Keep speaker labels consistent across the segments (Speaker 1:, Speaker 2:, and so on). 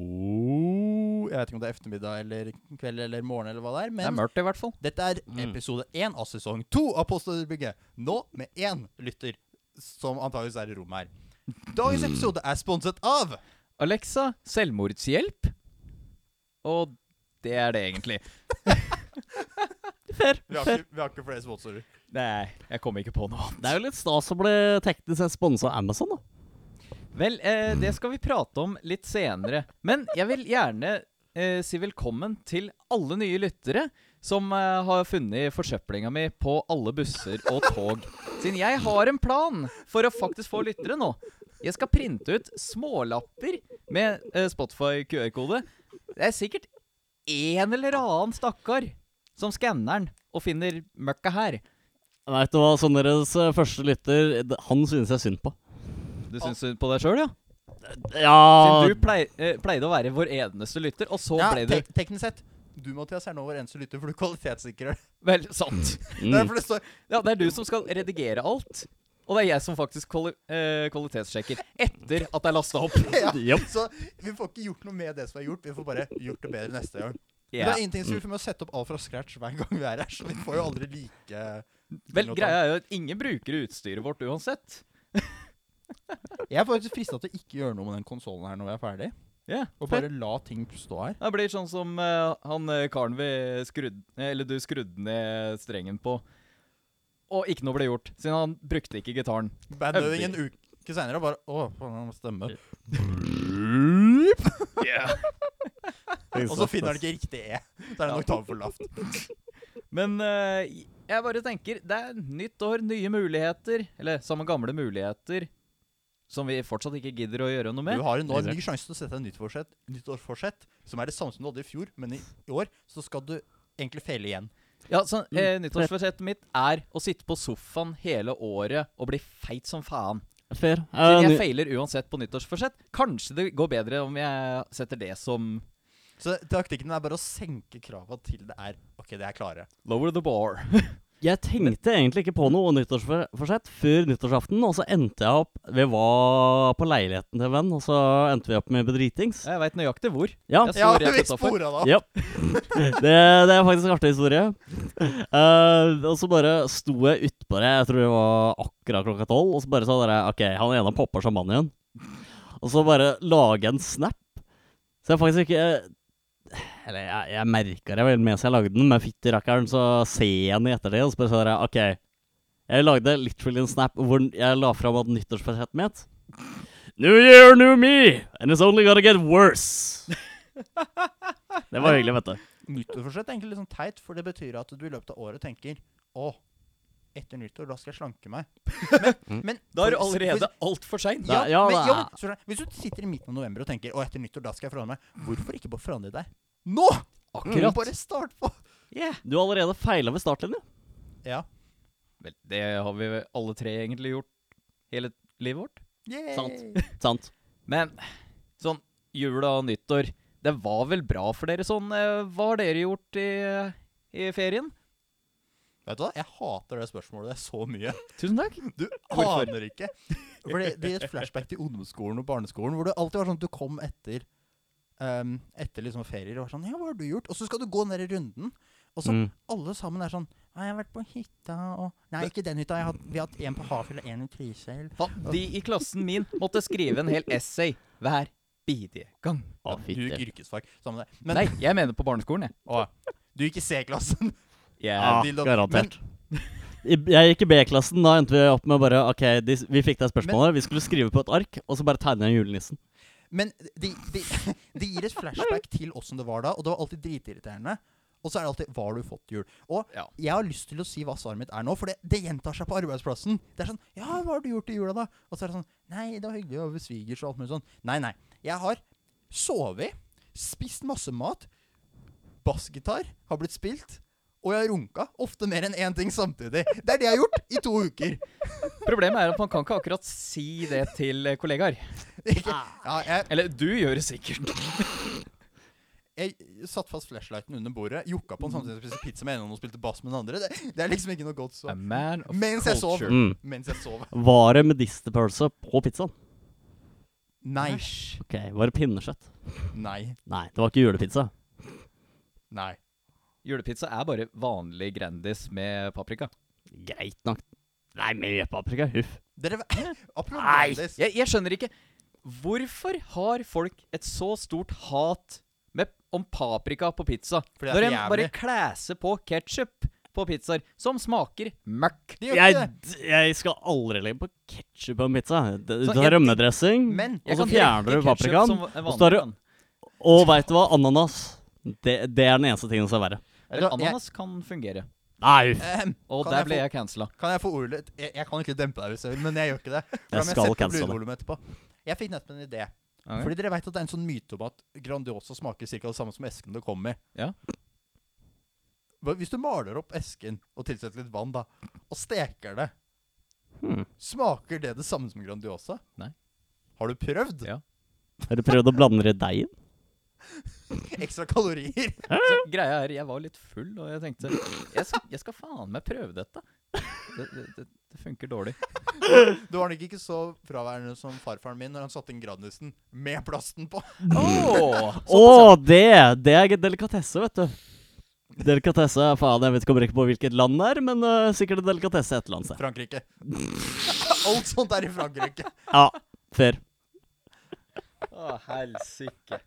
Speaker 1: god Jeg vet ikke om det er ettermiddag eller kveld eller morgen eller hva det er.
Speaker 2: Det er
Speaker 1: Men
Speaker 2: mørkt, i hvert fall.
Speaker 1: dette er
Speaker 2: Mm.
Speaker 1: episode én av sesong to av Postordbygget. Nå med én lytter, som antageligvis er i rommet her.
Speaker 2: Mm.
Speaker 1: Dagens episode er sponset av
Speaker 2: Alexa, selvmordshjelp. Og det er det, egentlig.
Speaker 3: Fair.
Speaker 1: Vi har ikke, vi har ikke flere sponsorer.
Speaker 2: Nei, jeg kom ikke på noe.
Speaker 3: Det er jo litt stas å bli teknisk sett sponsa av Amazon, da.
Speaker 2: Vel, eh, det skal vi prate om litt senere. Men jeg vil gjerne eh, si velkommen til alle nye lyttere som eh, har funnet forsøplinga mi på alle busser og tog. Siden jeg har en plan for å faktisk få lyttere nå. Jeg skal printe ut smålapper med eh, Spotify QR-kode. Det er sikkert en eller annen stakkar som skanner den og finner møkka her.
Speaker 3: Veit du hva, sånn deres eh, første lytter, d- han synes jeg synd på.
Speaker 2: Du syns synd på deg sjøl, ja?
Speaker 3: Ja Ah.
Speaker 2: Siden du plei, eh, pleide å være vår eneste lytter, og så
Speaker 1: Ja,
Speaker 2: ble du
Speaker 1: tek teknisk sett. Du Mathias, er nå vår eneste lytter, for du kvalitetssikrer.
Speaker 2: Vel, sant.
Speaker 1: Det er
Speaker 3: mm.
Speaker 1: for det står
Speaker 2: Ja, det er du som skal redigere alt. Og det er jeg som faktisk kvali eh, kvalitetssjekker etter at det er lasta opp.
Speaker 1: ja.
Speaker 3: Japp.
Speaker 1: Så vi får ikke gjort noe med det som er gjort, vi får bare gjort det bedre neste gang. Men Det
Speaker 2: Ja. Mm.
Speaker 1: er ingenting som vi får med å sette opp alt fra scratch hver gang vi er her, så vi får jo aldri like
Speaker 2: Vel, greia er jo at ingen bruker utstyret vårt uansett.
Speaker 1: Jeg er faktisk frista til å ikke gjøre noe med den konsollen her når vi er ferdig,
Speaker 2: Ja,
Speaker 1: og bare la ting stå her.
Speaker 2: Det blir sånn som eh, han eh, karen vi skrudde Eller du skrudde ned strengen på. Og ikke noe ble gjort, siden han brukte ikke gitaren.
Speaker 1: Bandøving en uke seinere bare Å, faen, han må stemme. Og så finner han ikke riktig E. Så er det en oktav for lavt.
Speaker 2: Men eh, jeg bare tenker, det er nytt år, nye muligheter. Eller samme gamle muligheter. Som vi fortsatt ikke gidder å gjøre noe med.
Speaker 1: Du har jo nå en ny sjanse til å sette deg nytt forsett, nyttårsforsett, som er det samme som du hadde i fjor, men i, i år så skal du egentlig feile igjen.
Speaker 2: Ja, så,
Speaker 3: Mm,
Speaker 2: eh, Nyttårsforsettet mitt er å sitte på sofaen hele året og bli feit som faen.
Speaker 3: Fair. Eh,
Speaker 2: Siden jeg
Speaker 3: ny-
Speaker 2: feiler uansett på nyttårsforsett. Kanskje det går bedre om jeg setter det som
Speaker 1: Så taktikken er bare å senke krava til det er OK, det er klare.
Speaker 2: Lower the bar.
Speaker 3: Jeg tenkte egentlig ikke på noe nyttårsforsett før nyttårsaften, og så endte jeg opp Vi var på leiligheten til en venn, og så endte vi opp med bedritings.
Speaker 2: Jeg veit nøyaktig hvor.
Speaker 3: Ja.
Speaker 2: Jeg
Speaker 1: Ja,
Speaker 2: står rett
Speaker 1: vi
Speaker 2: utenfor.
Speaker 1: spora da.
Speaker 3: Ja. Det, det er faktisk en artig historie. Eh, og så bare sto jeg utpå det, jeg tror det var akkurat klokka tolv, og så bare sa dere OK, han ene popper som mann igjen. Og så bare lage en snap. Så jeg faktisk ikke Eller jeg, jeg merka det vel mens jeg lagde den, men fytti rakkeren, så ser jeg den i ettertid, og så bare sa dere OK. Jeg lagde literally en snap hvor jeg la fram at nyttårsforsettet mitt New year, new me, and it's only gonna get worse. Det var hyggelig, vet du.
Speaker 1: Nyttårsforsett er egentlig litt sånn teit, for det betyr at du i løpet av året tenker Å, etter nyttår, da skal jeg slanke meg. Men, men
Speaker 2: Da er
Speaker 1: for-
Speaker 2: du
Speaker 1: for-
Speaker 2: allerede altfor sein.
Speaker 1: ja,
Speaker 3: Da- ja,
Speaker 1: men,
Speaker 3: da-
Speaker 1: ja, men, sorry, Hvis du sitter i midten av november og tenker Å, etter nyttår, da skal jeg forandre meg, hvorfor ikke bare forandre deg nå?
Speaker 3: Mm.
Speaker 2: Akkurat.
Speaker 1: Bare start på.
Speaker 2: Yeah.
Speaker 3: Du har allerede feila ved startlinja.
Speaker 1: Ja.
Speaker 2: Vel, det har vi vel alle tre egentlig gjort hele livet vårt.
Speaker 1: Yay.
Speaker 3: Sant. Sant.
Speaker 2: Men sånn jula og nyttår, det var vel bra for dere sånn? eh, Hva har dere gjort i, eh, i ferien?
Speaker 1: Vet du hva? Jeg hater det spørsmålet det er så mye.
Speaker 2: Tusen takk.
Speaker 1: Du
Speaker 2: Hvorfor?
Speaker 1: aner ikke. For det, det gir et flashback til ungdomsskolen og barneskolen, hvor det alltid var sånn at du kom etter ehm, Etter liksom ferier og var sånn Ja, hva har du gjort? Og så skal du gå ned i runden. Og så
Speaker 3: Mm.
Speaker 1: alle sammen er sånn Nei, jeg har vært på hytta og Nei, ikke den hytta. Jeg har, hatt- vi har hatt en på Hafjell og en i Trysil.
Speaker 2: Faen, De i klassen min måtte skrive en hel essay hver bidige gang.
Speaker 3: Å,
Speaker 1: Du gikk
Speaker 3: fytti.
Speaker 1: yrkesfag sammen med deg. Men
Speaker 2: Nei, jeg mener på barneskolen, jeg.
Speaker 1: Å, du gikk i C-klassen.
Speaker 2: jeg
Speaker 3: Ja,
Speaker 1: Dildo.
Speaker 3: garantert. I- Jeg gikk i B-klassen. Da endte vi opp med bare OK, de, vi fikk det spørsmålet. Vi skulle skrive på et ark, og så bare tegne en julenissen.
Speaker 1: Men det de, de gir et flashback til åssen det var da, og det var alltid dritirriterende. Og så er det alltid 'Hva har du fått til jul?' Og
Speaker 2: Ja.
Speaker 1: jeg har lyst til å si hva svaret mitt er nå, for det, det gjentar seg på arbeidsplassen. Det er sånn 'Ja, hva har du gjort i jula, da?' Og så er det sånn 'Nei, det var hyggelig å være hos svigers og alt mulig sånn'. Nei, nei. Jeg har sovet, spist masse mat, bassgitar har blitt spilt, og jeg har runka. Ofte mer enn én ting samtidig. Det er det jeg har gjort i to uker.
Speaker 2: Problemet er at man kan ikke akkurat si det til eh, kollegaer.
Speaker 1: Ikke? Ja, jeg,
Speaker 2: Eller du gjør det sikkert.
Speaker 1: Jeg satt fast flashlighten under bordet, jokka på den samtidig som jeg spiste pizza med en og spilte bass med den andre. Det, det er liksom ikke noe godt
Speaker 2: A
Speaker 1: svar.
Speaker 2: man of
Speaker 1: Mens jeg sov.
Speaker 2: culture.
Speaker 3: Mm.
Speaker 1: Mens jeg sov.
Speaker 3: Var det medisterpølse på pizzaen?
Speaker 1: Nei.
Speaker 3: Ok, Var det pinnekjøtt?
Speaker 1: Nei.
Speaker 3: Nei, det var ikke julepizza.
Speaker 1: Nei.
Speaker 2: Julepizza er bare vanlig Grandis med paprika.
Speaker 3: Greit nok. Nei, med paprika. Huff.
Speaker 1: Dere Apropos
Speaker 3: Nei.
Speaker 1: Grandis.
Speaker 2: Jeg, jeg skjønner ikke Hvorfor har folk et så stort hat med, om paprika på pizza?
Speaker 1: Fordi det er
Speaker 2: Når
Speaker 1: så
Speaker 2: en bare
Speaker 1: jævlig.
Speaker 2: klæser på ketsjup på pizzaer som smaker møkk.
Speaker 1: Det gjør ikke
Speaker 3: Jeg,
Speaker 1: det.
Speaker 3: jeg skal aldri legge på ketsjup på en pizza. D- Du
Speaker 2: Så
Speaker 3: tar
Speaker 2: jeg-
Speaker 3: rømmedressing,
Speaker 1: Men
Speaker 3: og
Speaker 2: Jeg
Speaker 3: så
Speaker 2: kan drikke
Speaker 3: fjerner du
Speaker 2: ketchup
Speaker 3: paprikaen.
Speaker 2: som en
Speaker 3: og så tar du-
Speaker 2: vanlig,
Speaker 3: Og veit du hva? Ananas. Det, det er den eneste tingen som er verre.
Speaker 2: men- Eller ananas kan fungere.
Speaker 3: Nei, uff.
Speaker 1: Ehm,
Speaker 2: Og
Speaker 1: kan
Speaker 2: der ble
Speaker 1: få-
Speaker 2: jeg cancela.
Speaker 1: Kan jeg få ordet litt? Jeg, jeg kan ikke dempe deg hvis jeg vil, men jeg gjør ikke det. For da må
Speaker 3: skal
Speaker 1: sette på
Speaker 3: cancele det.
Speaker 1: lydvolumet etterpå. Jeg fikk nettopp en idé.
Speaker 2: Ok.
Speaker 1: Fordi dere vet at det er en sånn myte om at Grandiosa smaker cirka det samme som esken det kommer i.
Speaker 2: Ja.
Speaker 1: Hva- Hvis du maler opp esken og tilsetter litt vann, da, og steker det,
Speaker 3: Hmm.
Speaker 1: smaker det det samme som Grandiosa?
Speaker 2: Nei.
Speaker 1: Har du prøvd?
Speaker 2: Ja.
Speaker 3: Har du prøvd å blande det i deigen?
Speaker 1: Ekstra kalorier.
Speaker 2: Så greia er, jeg var litt full, og jeg tenkte Jeg skal, jeg skal faen meg prøve dette. Det, det, det, det funker dårlig.
Speaker 1: Du var nok ikke så fraværende som farfaren min når han satte inn Grandisen med plasten på.
Speaker 2: Åh,
Speaker 3: Å, det! Det er delikatesse, vet du. Delikatesse, faen, jeg vet ikke om jeg rekker på hvilket land det er, men øh, sikkert en delikatesse et eller annet sted.
Speaker 1: Frankrike. Alt sånt er i Frankrike.
Speaker 3: Ja, fair.
Speaker 2: Å, helsike.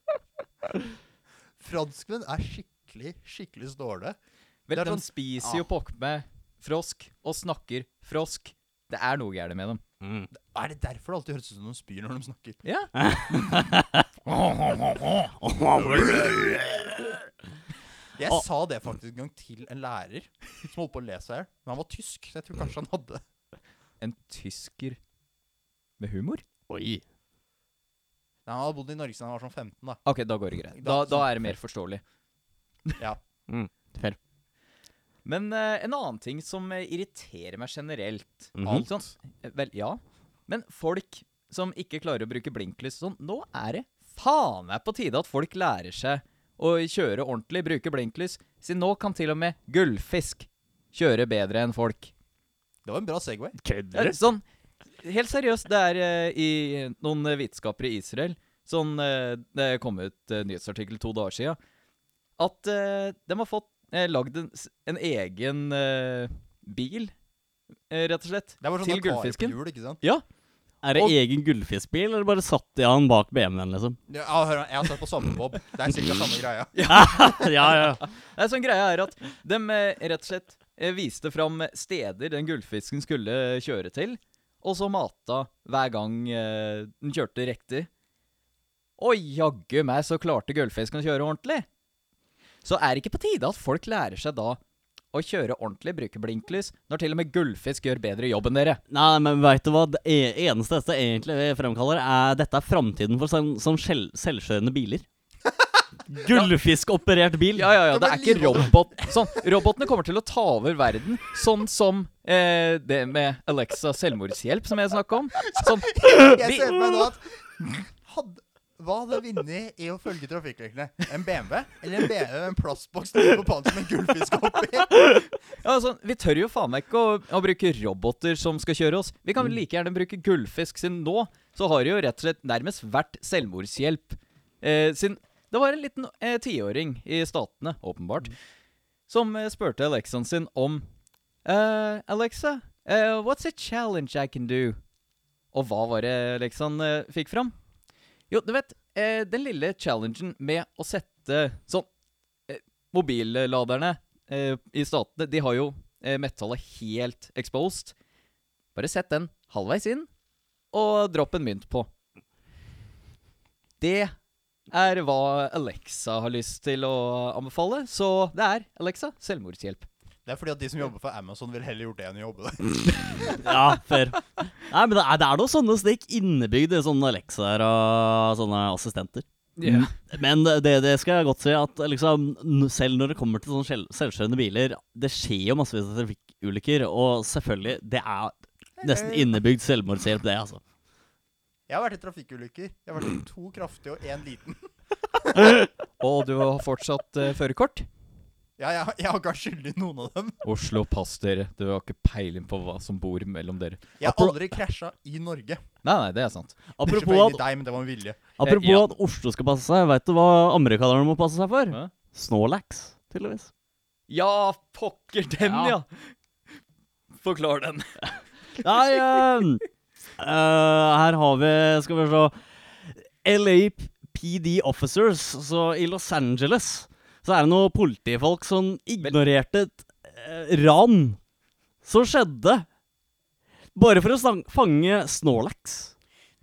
Speaker 1: Franskmenn er skikkelig, skikkelig snåle. Det
Speaker 2: Vel,
Speaker 1: er
Speaker 2: de
Speaker 1: sånn-
Speaker 2: spiser jo pokker meg frosk og snakker frosk. Det er noe gærent med dem.
Speaker 1: Er det derfor det alltid høres ut som de spyr når de snakker?
Speaker 2: Ja.
Speaker 1: Jeg
Speaker 3: Å.
Speaker 1: sa det faktisk en gang til en lærer som holdt på å le seg i hjel. Men han var tysk, så jeg tror kanskje han hadde
Speaker 2: En tysker med humor?
Speaker 3: Oi.
Speaker 1: Nei, Han hadde bodd i Norge siden han var sånn 15, da.
Speaker 2: OK, da går det greit. Da, da er det mer forståelig.
Speaker 1: Ja.
Speaker 2: Men eh, en annen ting som eh, irriterer meg generelt
Speaker 3: Mhm.
Speaker 2: Alt sånn, eh, Vel, ja. Men folk som ikke klarer å bruke blinklys sånn Nå er det faen meg på tide at folk lærer seg å kjøre ordentlig, bruke blinklys. Siden nå kan til og med gullfisk kjøre bedre enn folk.
Speaker 1: Det var en bra Segway.
Speaker 2: Ja,
Speaker 3: Kødder du?
Speaker 2: sånn, helt seriøst, det er eh, i noen eh, vitenskaper i Israel Sånn, eh, Det kom ut eh, nyhetsartikkel to dager siden at eh, de har fått eh, lagd en, s- en egen eh, bil, eh, rett og slett,
Speaker 1: Det var sånn
Speaker 2: til
Speaker 1: Atari på
Speaker 2: gullfisken.
Speaker 1: Hjul, ikke sant?
Speaker 2: Ja,
Speaker 3: Er det
Speaker 2: Og-
Speaker 3: egen gullfiskbil, eller bare satt de han bak BMW-en, liksom?
Speaker 1: Ja, hør, jeg har sett på samme bob. Det er sikkert samme greia.
Speaker 3: ja, ja.
Speaker 2: Nei, sånn greia er at de eh, rett og slett eh, viste fram steder den gullfisken skulle eh, kjøre til, og så mata hver gang eh, den kjørte riktig. Og jaggu meg så klarte gullfisken å kjøre ordentlig! Så er det ikke på tide at folk lærer seg da å kjøre ordentlig, bruke blinklys, når til og med gullfisk gjør bedre jobb enn dere.
Speaker 3: Nei, men veit du hva det e- eneste dette egentlig fremkaller, er dette er framtiden for sånn, sånn selv, selvkjørende biler. Gullfiskoperert bil.
Speaker 2: Ja, ja,
Speaker 1: Det
Speaker 2: ja, det
Speaker 1: var
Speaker 2: er ikke
Speaker 1: livånd.
Speaker 2: robot sånn, Robotene kommer til å ta over verden, sånn som eh, det med Alexa selvmordshjelp, som jeg snakka om. Sånn,
Speaker 1: Jeg ser for meg nå at hadde, Hva hadde vunnet i å følge trafikkreglene? En BMW? Eller en BMW med en plastboks nede på pannen som en gullfisk oppi?
Speaker 2: Ja, altså, Vi tør jo faen meg ikke å, å bruke roboter som skal kjøre oss. Vi kan vel like gjerne bruke gullfisk, siden nå så har det jo rett og slett nærmest vært selvmordshjelp. Eh, siden det var en liten eh, tiåring i Statene, åpenbart, som eh, spurte Alexaen sin om eh, Alexa, eh, what's a challenge I can do? Og hva var det Alexaen eh, fikk fram? Jo, du vet, eh, den lille challengen med å sette sånn eh, Mobilladerne eh, i statene, de har jo eh, metallet helt exposed. Bare sett den halvveis inn, og dropp en mynt på. Det er hva Alexa har lyst til å anbefale, så det er Alexa selvmordshjelp.
Speaker 1: Det er fordi at de som jobber for Amazon, ville heller gjort det enn å jobbe der.
Speaker 3: Ja, fair. Nei, men det er, det er noen sånne stikk innebygd i sånne Alexaer og sånne assistenter. Men det, det skal jeg godt si, at liksom, n- selv når det kommer til sånne selv, selvkjørende biler, det skjer jo massevis av trafikkulykker, og selvfølgelig, det er nesten innebygd selvmordshjelp, det, altså.
Speaker 1: Jeg har vært i trafikkulykker. Jeg har vært i to kraftige og én liten.
Speaker 2: Og du har fortsatt eh, førerkort?
Speaker 1: Ja, jeg, jeg har ikke vært skyldig i noen av dem.
Speaker 2: Oslo, pass dere. Du har ikke peiling på hva som bor mellom dere.
Speaker 1: Jeg har
Speaker 3: Apro-
Speaker 1: aldri krasja i Norge.
Speaker 2: Nei, nei, det er sant.
Speaker 1: Apropos
Speaker 3: Apropos at,
Speaker 1: deg, men det var med vilje.
Speaker 2: Eh,
Speaker 3: apropos
Speaker 2: ja.
Speaker 3: at Oslo skal passe seg, veit du hva amerikanerne må passe seg for?
Speaker 2: Hæ?
Speaker 3: Snorlax, tydeligvis.
Speaker 2: Ja, pokker den,
Speaker 3: Ja.
Speaker 2: ja. Forklar den.
Speaker 3: Nei, ehm, eh, her har vi Skal vi se LAPD officers. Så i Los Angeles så er det noen politifolk som ignorerte et eh, ran som skjedde. Bare for å stang- fange Snorlax.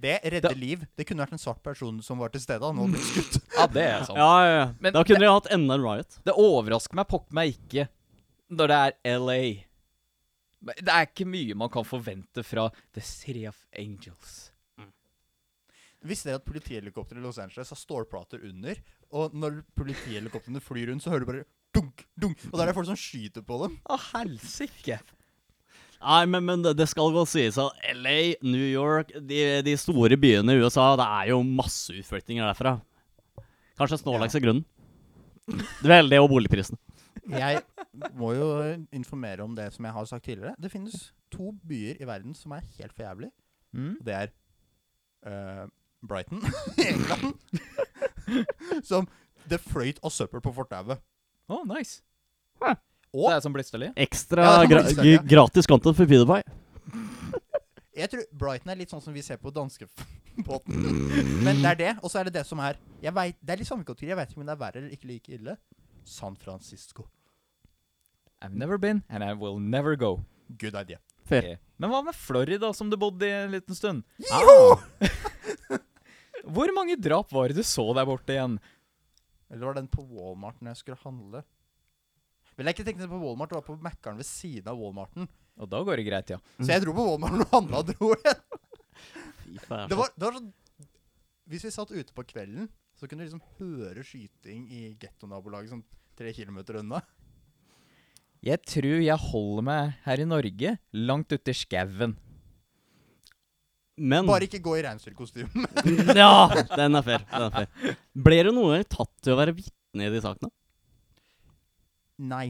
Speaker 1: Det redder
Speaker 2: Da-
Speaker 1: liv. Det kunne vært en svart person som var til stede. Han hadde blitt skutt.
Speaker 2: Ja, det er sant.
Speaker 3: Ja, ja, ja.
Speaker 2: Men
Speaker 3: da kunne de hatt enda en riot.
Speaker 2: Det overrasker meg pokker meg ikke når det er LA. Men Det er ikke mye man kan forvente fra The City of Angels.
Speaker 1: Visste dere at politihelikopteret i Los Angeles har stålplater under? Og når politihelikoptrene flyr rundt, så hører du bare dunk, dunk. Og da er det folk som skyter på dem.
Speaker 2: Å, helsike.
Speaker 3: Nei, men, men det, det skal godt sies at LA, New York, de, de store byene i USA, det er jo masse utflyttinger derfra. Kanskje Snorlax er grunnen. Det er vel det og boligprisene.
Speaker 1: Jeg må jo informere om det som jeg har sagt tidligere. Det finnes to byer i verden som er helt for jævlig.
Speaker 2: Mm.
Speaker 1: Og det er eh, Brighton i England. som det fløyt av søppel på fortauet.
Speaker 2: Å, nice.
Speaker 1: Og
Speaker 2: Det er som Blitsterli.
Speaker 3: Ekstra
Speaker 1: Ja, det
Speaker 3: gra
Speaker 1: er faktisk det,
Speaker 3: g-
Speaker 1: ja.
Speaker 3: gratis content for PewDiePie.
Speaker 1: Jeg tror Brighton er litt sånn som vi ser på danskebåten.
Speaker 2: Mm.
Speaker 1: Men det er det, og så er det det som er jeg vet, Det er litt sammenkultur. Jeg veit ikke om det er verre eller ikke like ille. San Francisco.
Speaker 2: I've never been, and I will never go.
Speaker 1: Good idea.
Speaker 3: Fair.
Speaker 2: Ok. Men hva med Florida, som du bodde i en liten stund? Ah.
Speaker 1: Joho!
Speaker 2: Hvor mange drap var det du så der borte igjen?
Speaker 1: Eller var den på Walmart når jeg skulle handle? Vel, jeg ikke tenkte på Walmart, det var på Mækkern ved siden av Walmarten.
Speaker 2: Og da går det greit, ja.
Speaker 1: Så jeg dro på Walmart og handla og dro igjen.
Speaker 3: Fy faen.
Speaker 1: Det var, det var sånn Hvis vi satt ute på kvelden, så kunne du liksom høre skyting i gettonabolaget sånn tre kilometer unna.
Speaker 2: Jeg tror jeg holder meg her i Norge, langt ute i skauen.
Speaker 3: Men
Speaker 1: Bare ikke gå i reinsdyrkostyme.
Speaker 3: Ja, den er fair. Den er fair. Ble du noen gang tatt til å være vitne i de sakene?
Speaker 1: Nei.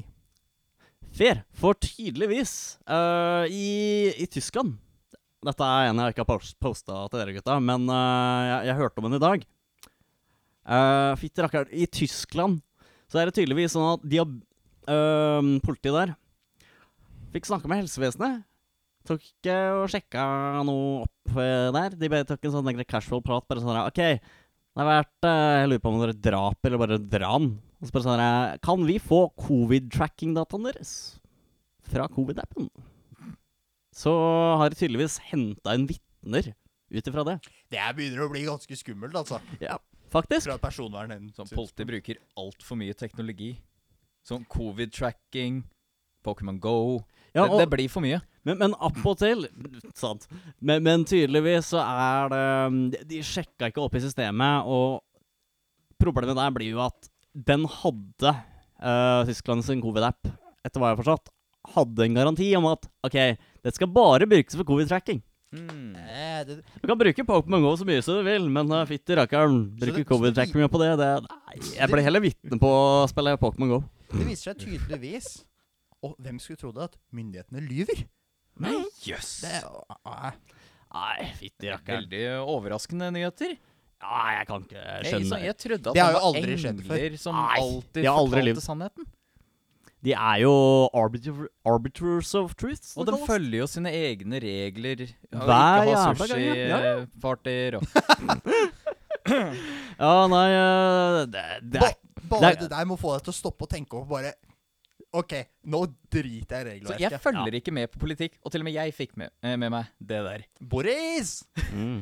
Speaker 3: Fair. For tydeligvis eh, i, I Tyskland Dette er en jeg ikke har posta til dere, gutta, men eh, jeg, jeg hørte om den i dag. Eh, Fitte rakkeren I Tyskland så er det tydeligvis sånn at de har eh, Politiet der fikk snakka med helsevesenet. Tok ikke og sjekka noe opp eh, der. De bare tok en sånn egentlig casual prat. Bare sånn her, OK, det har vært eh, Jeg lurer på om det er et drap eller bare et ran. Og så bare sånn her, Kan vi få covid-tracking-dataen deres? Fra covid-appen. Så har de tydeligvis henta inn vitner ut ifra det.
Speaker 1: Det her begynner å bli ganske skummelt, altså.
Speaker 3: Ja, faktisk.
Speaker 1: Fra et personvernhensyn.
Speaker 2: Sånn, Politiet bruker altfor mye teknologi. Sånn covid-tracking, Pokémon Go
Speaker 3: Ja,
Speaker 2: det,
Speaker 3: og,
Speaker 2: det blir for mye.
Speaker 3: men, men appåtil Sant. Men, men tydeligvis så er det mm, de- De sjekka ikke opp i systemet, og problemet der blir jo at den hadde eh, Tyskland sin covid-app, etter hva jeg har forstått, hadde en garanti om at OK, det skal bare brukes for covid-tracking.
Speaker 2: Hmm,
Speaker 1: Eh, det, så
Speaker 3: Du kan bruke Pokémon GO så mye som du vil, men uh, fytti rakkeren,
Speaker 1: Så
Speaker 3: bruke
Speaker 1: det-
Speaker 3: covid-trackinga på det, det Nei, jeg ble heller vitne på å spille Pokémon GO.
Speaker 1: det viser seg tydeligvis Og hvem skulle trodd at myndighetene lyver?
Speaker 2: Nei, jøss!
Speaker 1: Det er eh,
Speaker 3: Nei, fytti rakkeren.
Speaker 2: Veldig overraskende nyheter.
Speaker 3: Nei, jeg kan ikke
Speaker 2: Jeg,
Speaker 3: skjønne
Speaker 2: liksom, jeg trodde at
Speaker 1: Det
Speaker 2: det
Speaker 1: har jo
Speaker 2: var
Speaker 1: aldri skjedd før.
Speaker 2: engler som
Speaker 3: Nei,
Speaker 2: alltid
Speaker 3: de har aldri
Speaker 2: fortalte
Speaker 3: levd.
Speaker 2: sannheten.
Speaker 3: De er jo arbiter arbiters of truth.
Speaker 2: Og de følger jo sine egne regler. og
Speaker 3: Hver
Speaker 2: ikke ha
Speaker 3: jævla gang, ja. Ja, ja.
Speaker 2: sushipartyer og
Speaker 3: Ja, nei uh, det, det er
Speaker 1: ba, Bare
Speaker 3: det
Speaker 1: det der må få deg til å stoppe og tenke over bare OK, nå driter jeg i
Speaker 2: Så Altså, jeg
Speaker 1: regelverket.
Speaker 2: følger ikke med på politikk, og til og med jeg fikk med, eh, med meg det der.
Speaker 1: Boris!
Speaker 3: mm.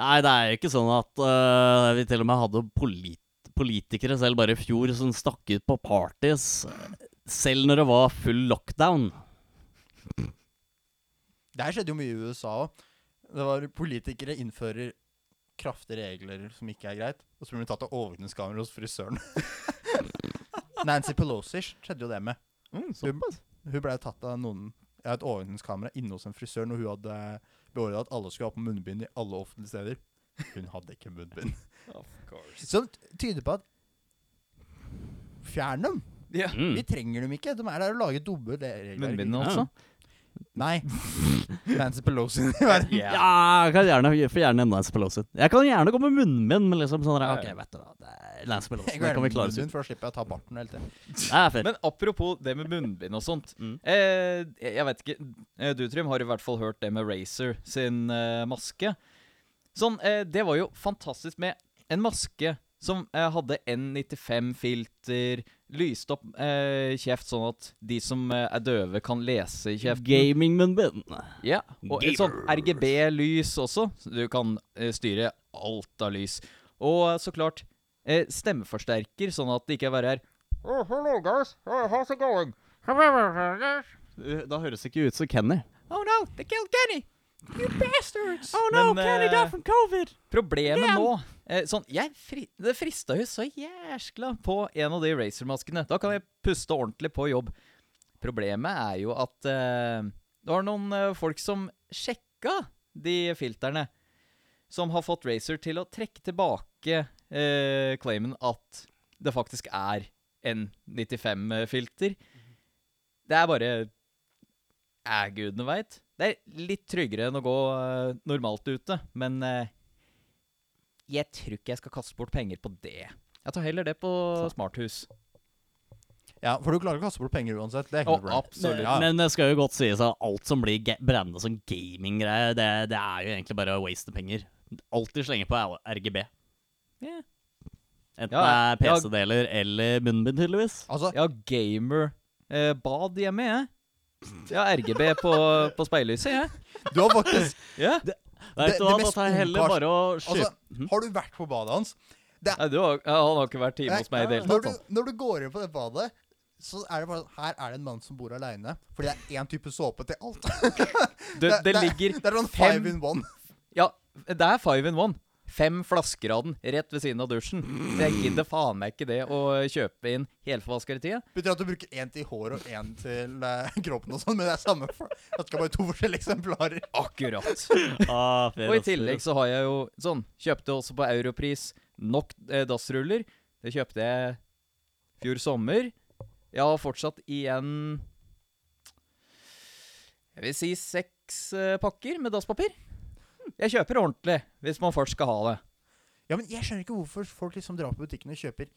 Speaker 3: Nei, det er jo ikke sånn at uh, vi til og med hadde polit politikere selv bare i fjor som stakk ut på parties, eh, selv når det var full lockdown.
Speaker 1: Det her skjedde jo mye i USA òg. Det var politikere innfører kraftige regler som ikke er greit, og så blir de tatt av overvåkningskamera hos frisøren. Nancy Pelosi skjedde jo det med.
Speaker 3: Mm,
Speaker 1: Hun ble tatt av noen av et overvåkningskamera inne hos en frisør når hun hadde beordra at alle skulle ha på munnbind i alle offentlige steder. Hun hadde ikke munnbind.
Speaker 2: Of course.
Speaker 1: Som t- tyder på at Fjern dem!
Speaker 2: Ja.
Speaker 3: Mm.
Speaker 1: Vi trenger dem ikke. De er der og lager dumme le-
Speaker 2: Munnbindene
Speaker 3: Ja.
Speaker 2: også.
Speaker 1: Nei. Nancy Pelosi i verden.
Speaker 3: Ja, jeg kan gjerne, jeg får gjerne Lance Pelosi. Jeg kan gjerne gå med munnbind, men liksom sånn der,
Speaker 2: Ja,
Speaker 3: OK,
Speaker 2: ja.
Speaker 3: vet du hva, det er Lance Pelosi.
Speaker 1: Jeg
Speaker 3: Det
Speaker 1: går
Speaker 3: kan vi
Speaker 1: med
Speaker 3: klare oss ut.
Speaker 1: munnbind, for da slipper jeg å ta barten hele tiden.
Speaker 3: Det er fair.
Speaker 2: Men apropos det med munnbind og sånt.
Speaker 3: Mm.
Speaker 2: Eh, jeg jeg vet ikke eh, Du, Trym, har i hvert fall hørt det med Razer sin eh, maske. Sånn, eh, Det var jo fantastisk med en maske som eh, hadde N95-filter, lyste opp eh, kjeft sånn at de som eh, er døve, kan lese i kjeften.
Speaker 3: Gaming-munnbind.
Speaker 2: Ja, og et sånn RGB-lys også. så Du kan eh, styre alt av lys. Og eh, så klart eh, stemmeforsterker, sånn at det ikke er bare her
Speaker 4: Oh, hello guys. Uh, how's it going?
Speaker 3: Eh, Da høres det ikke ut som Kenny.
Speaker 2: Oh no, they killed Kenny!
Speaker 3: Oh
Speaker 2: no, Men, Kenny died eh,
Speaker 3: from covid!
Speaker 2: Problemet
Speaker 3: Damn.
Speaker 2: nå eh, Sånn, jeg fri, Det frista jo så jæskla på en av de racermaskene. Da kan jeg puste ordentlig på jobb. Problemet er jo at eh, det var noen eh, folk som sjekka de filterne, som har fått Racer til å trekke tilbake eh, claimen at det faktisk er en 95-filter. Det er bare Æ, gudene veit. Det er litt tryggere enn å gå eh, normalt ute, men eh, jeg tror ikke jeg skal kaste bort penger på det. Jeg tar heller det på smarthus.
Speaker 1: Ja, For du klarer ikke å kaste bort penger uansett. Det er ikke
Speaker 2: Å,
Speaker 1: noe problem.
Speaker 2: absolutt.
Speaker 1: Ja, ja.
Speaker 3: Men det skal jo godt sies at alt som blir ga- brandet som gaming-greie, det, det er jo egentlig bare å waste penger. Alltid slenge på L- RGB.
Speaker 2: Ja.
Speaker 3: Enten det
Speaker 2: Ja,
Speaker 3: er
Speaker 2: ja.
Speaker 3: PC-deler eller munnbind, tydeligvis.
Speaker 1: Altså,
Speaker 2: Jeg har gamer-bad Eh, hjemme, jeg. Jeg har RGB på, på speillyset, jeg.
Speaker 1: du har faktisk
Speaker 2: Ja.
Speaker 3: Vet
Speaker 1: det-
Speaker 3: du hva,
Speaker 1: det
Speaker 3: da
Speaker 1: mest
Speaker 3: tar jeg heller
Speaker 1: ungkars-
Speaker 3: bare å skyte
Speaker 1: Altså,
Speaker 2: Mhm.
Speaker 1: har du vært på badet hans?
Speaker 2: Nei, du har, ja, han har ikke vært hjemme hos meg i det hele
Speaker 1: Når du,
Speaker 2: tatt.
Speaker 1: når du går inn på det badet, så er det bare sånn Her er det en mann som bor aleine. Fordi det er én type såpe til alt.
Speaker 2: Det, det, det ligger
Speaker 1: Det er sånn
Speaker 2: fem-
Speaker 1: five in one.
Speaker 2: Ja, det er five in one. Fem flasker av den rett ved siden av dusjen. Så jeg gidder faen meg ikke det å kjøpe inn helforvaskere i tida.
Speaker 1: Betyr at du bruker én til hår og én til eh, kroppen og sånn, men det er samme for At det skal være to forskjellige eksemplarer.
Speaker 2: Akkurat.
Speaker 3: Ah, fair,
Speaker 2: Og i
Speaker 3: ass, fair,
Speaker 2: tillegg
Speaker 3: ass.
Speaker 2: så har jeg jo sånn Kjøpte også på Europris nok eh, dassruller. Det kjøpte jeg fjor sommer. Jeg har fortsatt igjen Jeg vil si seks eh, pakker med dasspapir. Jeg kjøper ordentlig hvis man først skal ha det.
Speaker 1: Ja, men jeg skjønner ikke hvorfor folk liksom drar på butikken og kjøper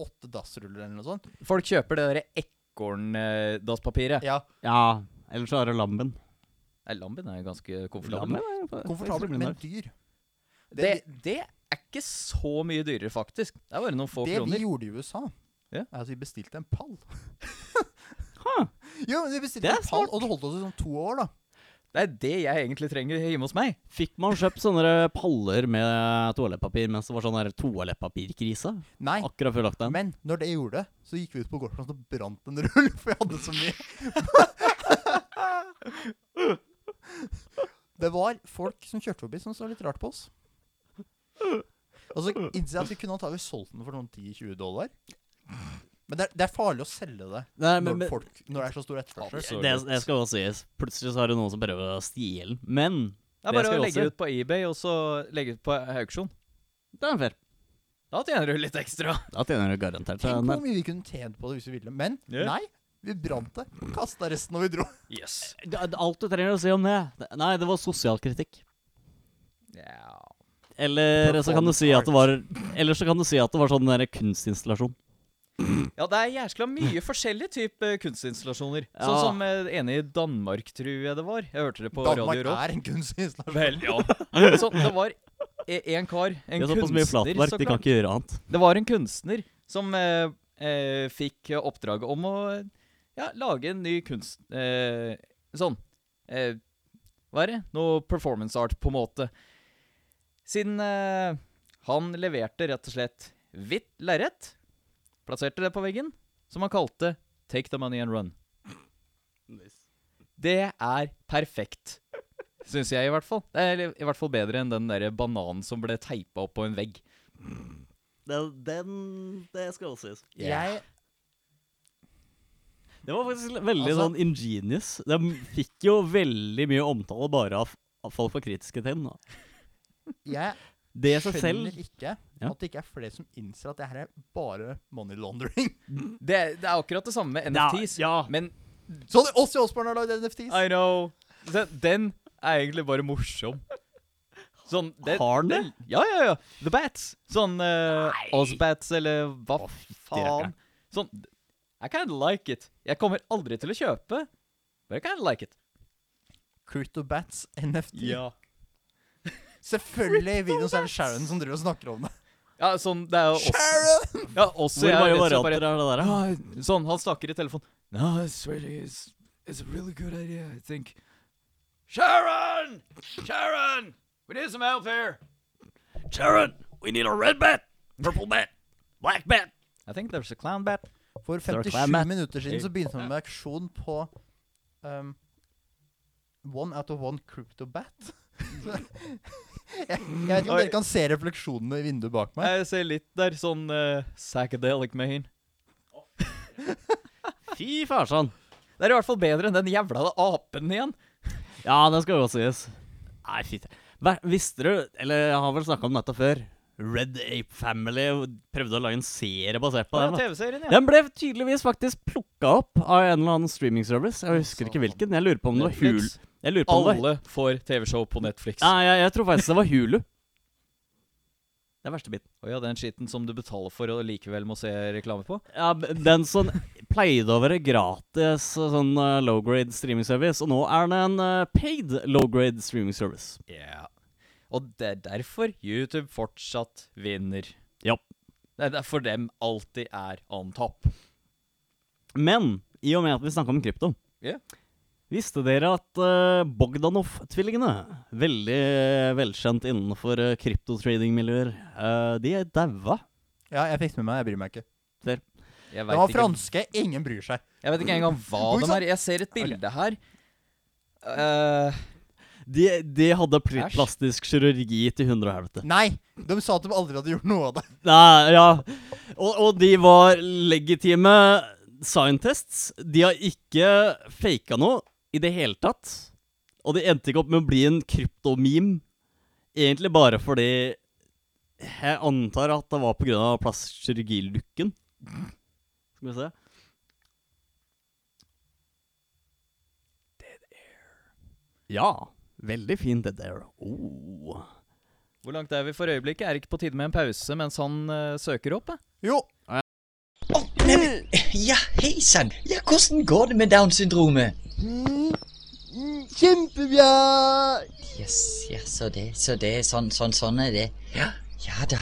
Speaker 1: åtte dassruller eller noe sånt.
Speaker 2: Folk kjøper det derre ekorndasspapiret.
Speaker 1: Ja,
Speaker 3: Ja, eller så er det lamben.
Speaker 2: Nei, Lambien er jo ganske komfortabel.
Speaker 3: Lamben er jo-
Speaker 1: komfortabelt, men dyr.
Speaker 2: Det, det er ikke så mye dyrere, faktisk. Det er bare noen få
Speaker 1: Det vi
Speaker 2: kroner.
Speaker 1: gjorde i USA,
Speaker 2: Ja.
Speaker 1: er at vi bestilte en pall.
Speaker 3: Huh.
Speaker 1: Jo, men vi bestilte
Speaker 3: Det er
Speaker 1: en pall, og det holdt oss i sånn to år, da.
Speaker 2: Det er det jeg egentlig trenger hjemme hos meg.
Speaker 3: Fikk man kjøpt sånne paller med toalettpapir mens det var sånn der toalettpapirkrise?
Speaker 1: Nei,
Speaker 3: Akkurat før lockdown.
Speaker 1: men når det gjorde det, så gikk vi ut på gårdsplassen og brant en rull, for jeg hadde så mye. det var folk som kjørte forbi som så litt rart på oss. Og så innser jeg at vi kunne antakelig solgt den for noen 10-20 dollar. Men det er, det er farlig å selge det
Speaker 3: Nei,
Speaker 1: når,
Speaker 3: men, men
Speaker 1: folk, når det er så stor etterspørsel.
Speaker 2: Absolutt.
Speaker 3: det, det skal også sies. Plutselig så er det noen som prøver å stjele den. Men
Speaker 2: Det er
Speaker 3: Det
Speaker 2: bare
Speaker 3: skal
Speaker 2: å
Speaker 3: jeg
Speaker 2: legge
Speaker 3: også.
Speaker 2: ut på eBay og så legge ut på auksjon.
Speaker 3: det er fair.
Speaker 2: Da tjener du litt ekstra.
Speaker 3: Da tjener du garantert
Speaker 1: Tenk på
Speaker 3: en
Speaker 1: hvor
Speaker 3: del.
Speaker 1: mye vi kunne tjent på det hvis vi ville. Men
Speaker 2: Ja.
Speaker 1: nei, vi brant det. Kasta resten og vi dro.
Speaker 2: Yes.
Speaker 3: Det er Alt du trenger å si om det det- Nei, det var sosial kritikk.
Speaker 2: Ja.
Speaker 3: Eller så kan du
Speaker 1: Performance
Speaker 3: si at det var
Speaker 1: art.
Speaker 3: Eller så kan du si at det var sånn der kunstinstallasjon.
Speaker 2: ja, det er jæskla mye forskjellige typer kunstinstallasjoner. Sånn
Speaker 3: Ja.
Speaker 2: som eh, ene i Danmark, tror jeg det var. Jeg hørte det på Radio
Speaker 1: Danmark
Speaker 2: Rock.
Speaker 1: er en kunstinstallasjon.
Speaker 2: Vel, ja. Så det var e- en kar, en
Speaker 3: De har såpass mye
Speaker 2: kunstner,
Speaker 3: flatverk,
Speaker 2: så
Speaker 3: de kan
Speaker 2: klart.
Speaker 3: ikke gjøre annet.
Speaker 2: Det var en kunstner som eh, eh, fikk oppdraget om å ja, lage en ny kunst... Eh, sånn eh, Hva er det? Noe performance art, på en måte. Siden eh, han leverte rett og slett hvitt lerret, plasserte det på veggen, som han kalte 'Take the money and run'. Det er perfekt. Syns jeg, i hvert fall. Det er i hvert fall bedre enn den der bananen som ble teipa opp på en vegg.
Speaker 3: Den, den Det skal også sies.
Speaker 1: Jeg
Speaker 3: Det var faktisk veldig
Speaker 1: Altså-
Speaker 3: sånn ingenious. De fikk jo veldig mye omtale bare av, av folk var kritiske til den. da.
Speaker 1: Jeg
Speaker 3: Det i seg selv
Speaker 1: skjønner ikke
Speaker 3: Ja.
Speaker 1: at det ikke er flere som innser at det her er bare money laundering.
Speaker 2: Det, det er akkurat det samme med NFTs.
Speaker 3: Ja, ja.
Speaker 2: Men
Speaker 1: Så det oss i Osborn har lagd NFTs.
Speaker 2: I know Den, den er egentlig bare morsom. Sånn,
Speaker 3: Har den det?
Speaker 2: Ja, ja, ja. The Bats. Sånn uh, Ozbats, eller hva faen.
Speaker 3: rakkeren.
Speaker 2: Sånn I kind of like it. Jeg kommer aldri til å kjøpe, but I kind of like it.
Speaker 1: Cryptobats NFT. Selvfølgelig i videoen så er det Sharon som driver og snakker om det.
Speaker 2: Ja, sånn, det er jo også,
Speaker 1: Sharon!
Speaker 2: ja, også
Speaker 3: Hvor
Speaker 2: jeg
Speaker 3: mange
Speaker 2: rett og slett
Speaker 3: varianter er det der? da?
Speaker 2: bare, «Ah, Sånn, han snakker i telefonen. No, it's really, it's, it's a really good idea, I think. Sharon! Sharon! We need some help here!
Speaker 3: Sharon, we need a red bat, purple bat, black bat.
Speaker 2: I think there's a clown bat.
Speaker 1: For
Speaker 3: Sir
Speaker 1: 57
Speaker 3: Clement.
Speaker 1: minutter siden så begynte man med auksjon på um, One out of one cryptobat. Så- Jeg, jeg vet ikke om
Speaker 2: Oi.
Speaker 1: dere kan se refleksjonene i vinduet bak meg.
Speaker 2: Jeg ser litt der, sånn eh, psychedelic man.
Speaker 3: Fy farsan.
Speaker 2: sånn. Det er i hvert fall bedre enn den jævla apen igjen.
Speaker 3: Ja, det skal godt sies. Nei, fy faen. Hva- Visste du, eller jeg har vel snakka om dette før, Red Ape Family prøvde å lage en serie basert på
Speaker 2: Ja,
Speaker 3: den. da.
Speaker 2: TV-serien, ja.
Speaker 3: Den ble tydeligvis faktisk plukka opp av en eller annen streamingservice. Jeg husker ikke hvilken. Jeg lurer på om det var Hul.
Speaker 2: Netflix.
Speaker 3: Jeg lurer på om det var...
Speaker 2: Alle får TV-show på Netflix.
Speaker 3: Nei, jeg, jeg tror faktisk det var Hulu. Det er verste biten.
Speaker 2: Og ja, den skitten som du betaler for og likevel må se reklame på.
Speaker 3: Ja, b- den som pleide å være gratis sånn eh, low-grade streaming service, og nå er den en eh, paid low-grade streaming service.
Speaker 2: Ja. Og det er derfor YouTube fortsatt vinner.
Speaker 3: Ja.
Speaker 2: Det er derfor dem alltid er on top.
Speaker 3: Men i og med at vi snakka om krypto
Speaker 2: Ja.
Speaker 3: Visste dere at eh, Bogdanov-tvillingene, veldig eh, velkjent innenfor eh, kryptotrading-miljøer, eh, de er daua?
Speaker 1: Ja, jeg fikk det med meg. Jeg bryr meg ikke.
Speaker 2: Jeg
Speaker 1: Det
Speaker 2: vet,
Speaker 1: var
Speaker 2: ikke,
Speaker 1: franske. Ingen bryr seg.
Speaker 2: jeg vet ikke engang hva
Speaker 1: Oi,
Speaker 2: de
Speaker 1: sant.
Speaker 2: er. Jeg ser et bilde her. Eh,
Speaker 3: De, de hadde pl-
Speaker 2: Æsj.
Speaker 3: plastisk kirurgi til hundre og helvete.
Speaker 1: Nei! De sa at de aldri hadde gjort noe av det.
Speaker 3: Nei, ja. Og, og de var legitime scientists. De har ikke faka noe i det hele tatt. Og de endte ikke opp med å bli en kryptomeme. Egentlig bare fordi jeg antar at det var pga. plastikkirurgilukken. Skal vi se. Dead air. Ja. Veldig fin dead air. Oh.
Speaker 2: hvor langt er vi for øyeblikket? Er det ikke på tide med en pause mens han eh, søker opp? eh?
Speaker 1: Jo,
Speaker 5: Neimen, ja, hei sann. Ja, hvordan går det med Downs-syndromet?
Speaker 1: Kjempebra!
Speaker 5: Yes, ja, så det, så det, sånn, sånn, sånn er det. Ja, ja da.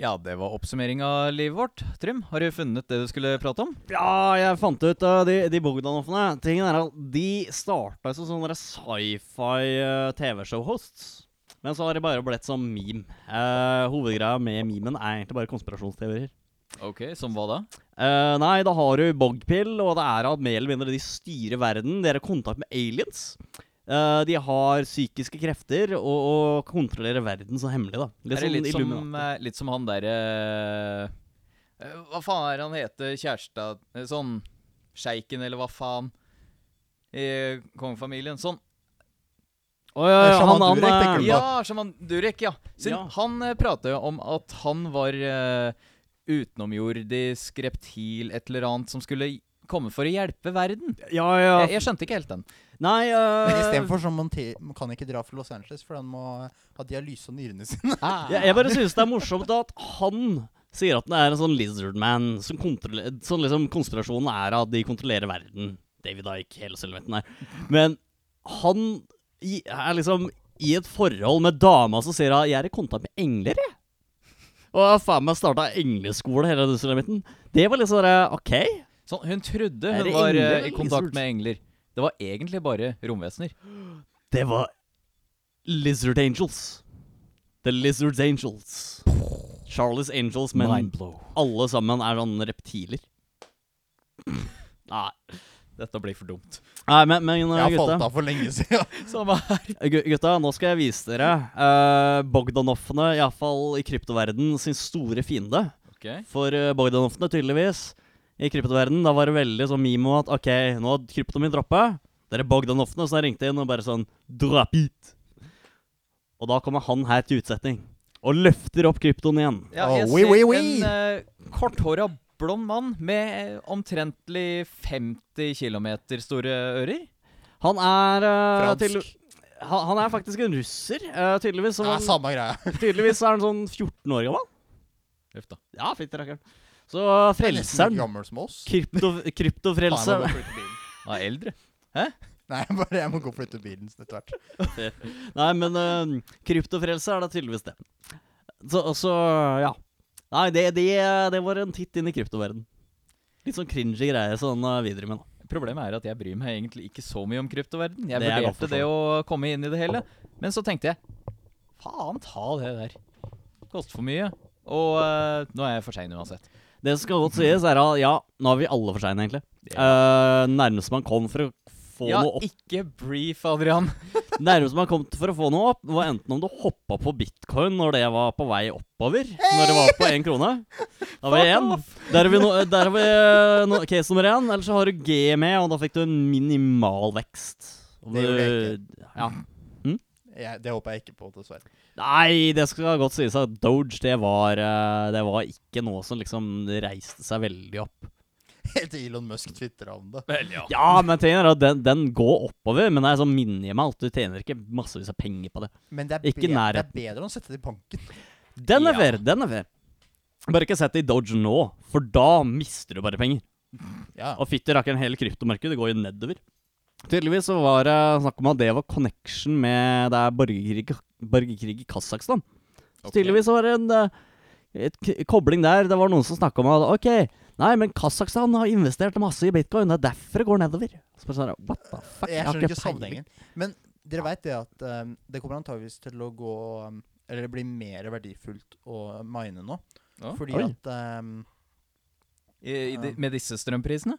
Speaker 2: Ja, det var oppsummering av livet vårt. Trym, har du funnet det du skulle prate om?
Speaker 3: Ja, jeg fant ut uh, de, de Bogdanoffene. Tingen er at de starta som sånne sci-fi uh, TV-show-hosts. Men så har de bare blitt som meme. Eh, hovedgreia med memen er egentlig bare konspirasjonsteorier.
Speaker 2: Ok, Som hva da?
Speaker 3: Eh, nei, da har du Bogpill, og det er at mer eller mindre de styrer verden. De er i kontakt med aliens. Eh, de har psykiske krefter og, og kontrollerer verden så hemmelig, da.
Speaker 2: Det er det
Speaker 3: sånn
Speaker 2: litt, som,
Speaker 3: Illuminati.
Speaker 2: eh, litt som han derre Hva faen er han heter? Kjæresta eh, Sånn Sjeiken, eller hva faen? I kongefamilien. Sånn.
Speaker 3: Å, ja, ja,
Speaker 1: Shaman
Speaker 3: han, han,
Speaker 1: Durek,
Speaker 3: eh,
Speaker 1: tenker du på?
Speaker 2: Ja, Shaman Durek, ja. Siden
Speaker 3: Ja.
Speaker 2: han eh, prater jo om at han var eh, utenomjordisk reptil, et eller annet, som skulle komme for å hjelpe verden.
Speaker 3: ja, ja.
Speaker 2: Jeg, jeg skjønte ikke helt den.
Speaker 3: Nei eh,
Speaker 1: Men istedenfor så monte- kan ikke dra fra Los Angeles, for han må ha dialyse av nyrene sine.
Speaker 2: Ah.
Speaker 3: Jeg, jeg bare synes det er morsomt at han sier at han er en sånn lizard man. Som kontroller- sånn liksom konspirasjonen er at de kontrollerer verden. David Ike, hele sølvvetten her. Men han i, er liksom i et forhold med dama som sier at 'jeg er i kontakt med engler', jeg. Og jeg har faen meg starta engleskole, hele den sølvvetten. Det var liksom sånn OK.
Speaker 2: Sånn, hun trodde
Speaker 3: Er
Speaker 2: hun
Speaker 3: det
Speaker 2: var
Speaker 3: engler
Speaker 2: eh,
Speaker 3: eller
Speaker 2: i kontakt
Speaker 3: lizard?
Speaker 2: med engler. Det var egentlig bare romvesener.
Speaker 3: Det var Lizard Angels. The Lizards Angels. Charlies Angels, men
Speaker 2: Mindblow.
Speaker 3: alle sammen er sånne reptiler. Nei,
Speaker 2: Dette blir for dumt.
Speaker 3: Nei men, men
Speaker 1: Jeg har falt
Speaker 3: gutta,
Speaker 1: av for lenge siden.
Speaker 2: Samme her.
Speaker 3: gu- gutta, nå skal jeg vise dere uh, Bogdanoffene, iallfall i kryptoverden, sin store fiende.
Speaker 2: Ok.
Speaker 3: For eh, Bogdanoffene, tydeligvis, i kryptoverden, da var det veldig sånn mimo at OK, nå har kryptoen min droppa. Det er Bogdanoffene som har ringt inn og bare sånn Drop it! Og da kommer han her til utsetning. Og løfter opp kryptoen igjen.
Speaker 2: Ja,
Speaker 1: Åh,
Speaker 2: jeg
Speaker 1: oui,
Speaker 2: ser
Speaker 1: oui, oui.
Speaker 2: en uh, korthåra blond mann med eh, omtrentlig 50 km store ører.
Speaker 3: Han er eh,
Speaker 1: Fransk.
Speaker 3: til, han, han er faktisk en russer, eh, tydeligvis. som
Speaker 1: Ja,
Speaker 3: han,
Speaker 1: samme greia.
Speaker 3: tydeligvis er han sånn 14 år gammel.
Speaker 2: Uff da.
Speaker 3: Ja, fint rakkeren. Så eh,
Speaker 1: Det er nesten like
Speaker 3: frelseren
Speaker 1: gammel som oss.
Speaker 3: krypto,
Speaker 1: Faen, jeg
Speaker 3: Kryptofrelse.
Speaker 1: må bare flytte bilen.
Speaker 2: Han er eldre.
Speaker 1: Nei, bare jeg må gå og flytte bilen etter hvert.
Speaker 3: Nei, men eh, kryptofrelse er da tydeligvis det. Så, så ja. Nei, det, det, det var en titt inn i kryptoverden. Litt sånn cringy greier sånn eh, videre med, da.
Speaker 2: Problemet er at jeg bryr meg egentlig ikke så mye om kryptoverden. Jeg
Speaker 3: Det er godt
Speaker 2: vurderte
Speaker 3: forstått.
Speaker 2: det å komme inn i det hele, men så tenkte jeg faen ta det der. Koster for mye. Og eh, nå er jeg for sein uansett.
Speaker 3: Det som skal godt sies, er at ja, nå er vi alle for seine, egentlig. Eh, nærmest man kom for å få
Speaker 2: Ja,
Speaker 3: noe opp
Speaker 2: ikke brief, Adrian.
Speaker 3: Nærmest man kom til for å få noe opp, var enten om du hoppa på bitcoin når det var på vei oppover, når det var på én krone. Da var det én. Der er vi, no, der er vi eh, no, case nummer én. Eller så har du G med, og da fikk du en minimal vekst. Om
Speaker 1: Det gjorde jeg
Speaker 3: du- Ja.
Speaker 1: Jeg, det håper jeg ikke på, dessverre.
Speaker 3: Nei, det skal godt sies at Doge, det var, eh, det var ikke noe som liksom reiste seg veldig opp.
Speaker 1: Helt til Elon Musk tvitra om det.
Speaker 3: Ja, men tingen er at den, den går oppover, men det er sånn minimalt. Du tjener ikke massevis av penger på det.
Speaker 1: Men det er,
Speaker 3: Ikke
Speaker 1: bedre, det er
Speaker 3: nærheten.
Speaker 1: bedre enn å sette det i banken.
Speaker 3: Den er
Speaker 2: Ja.
Speaker 3: fair, den er fair. Bare ikke sett det i Doge nå, for da mister du bare penger.
Speaker 1: Ja.
Speaker 3: Og fytti rakkeren, hele kryptomarkedet går jo nedover. Tydeligvis så var det snakk om at det var connection med det er borgerkrig, borgerkrig i Kasakhstan. Så Tydeligvis så var det en eh, et k kobling der. Det var noen som snakka om at OK, nei, men Kasakhstan har investert masse i bitcoin. Det er derfor det går nedover. Så bare sånn, What the fuck?
Speaker 1: Jeg
Speaker 3: har
Speaker 1: skjønner ikke
Speaker 3: peiling.
Speaker 1: sammenhengen. Men dere veit det at ehm, det kommer antageligvis til å gå ehm, Eller det blir mer verdifullt å mine nå.
Speaker 2: Ja.
Speaker 1: Fordi
Speaker 3: Oi.
Speaker 1: at ehm,
Speaker 2: I, i, de- med disse strømprisene?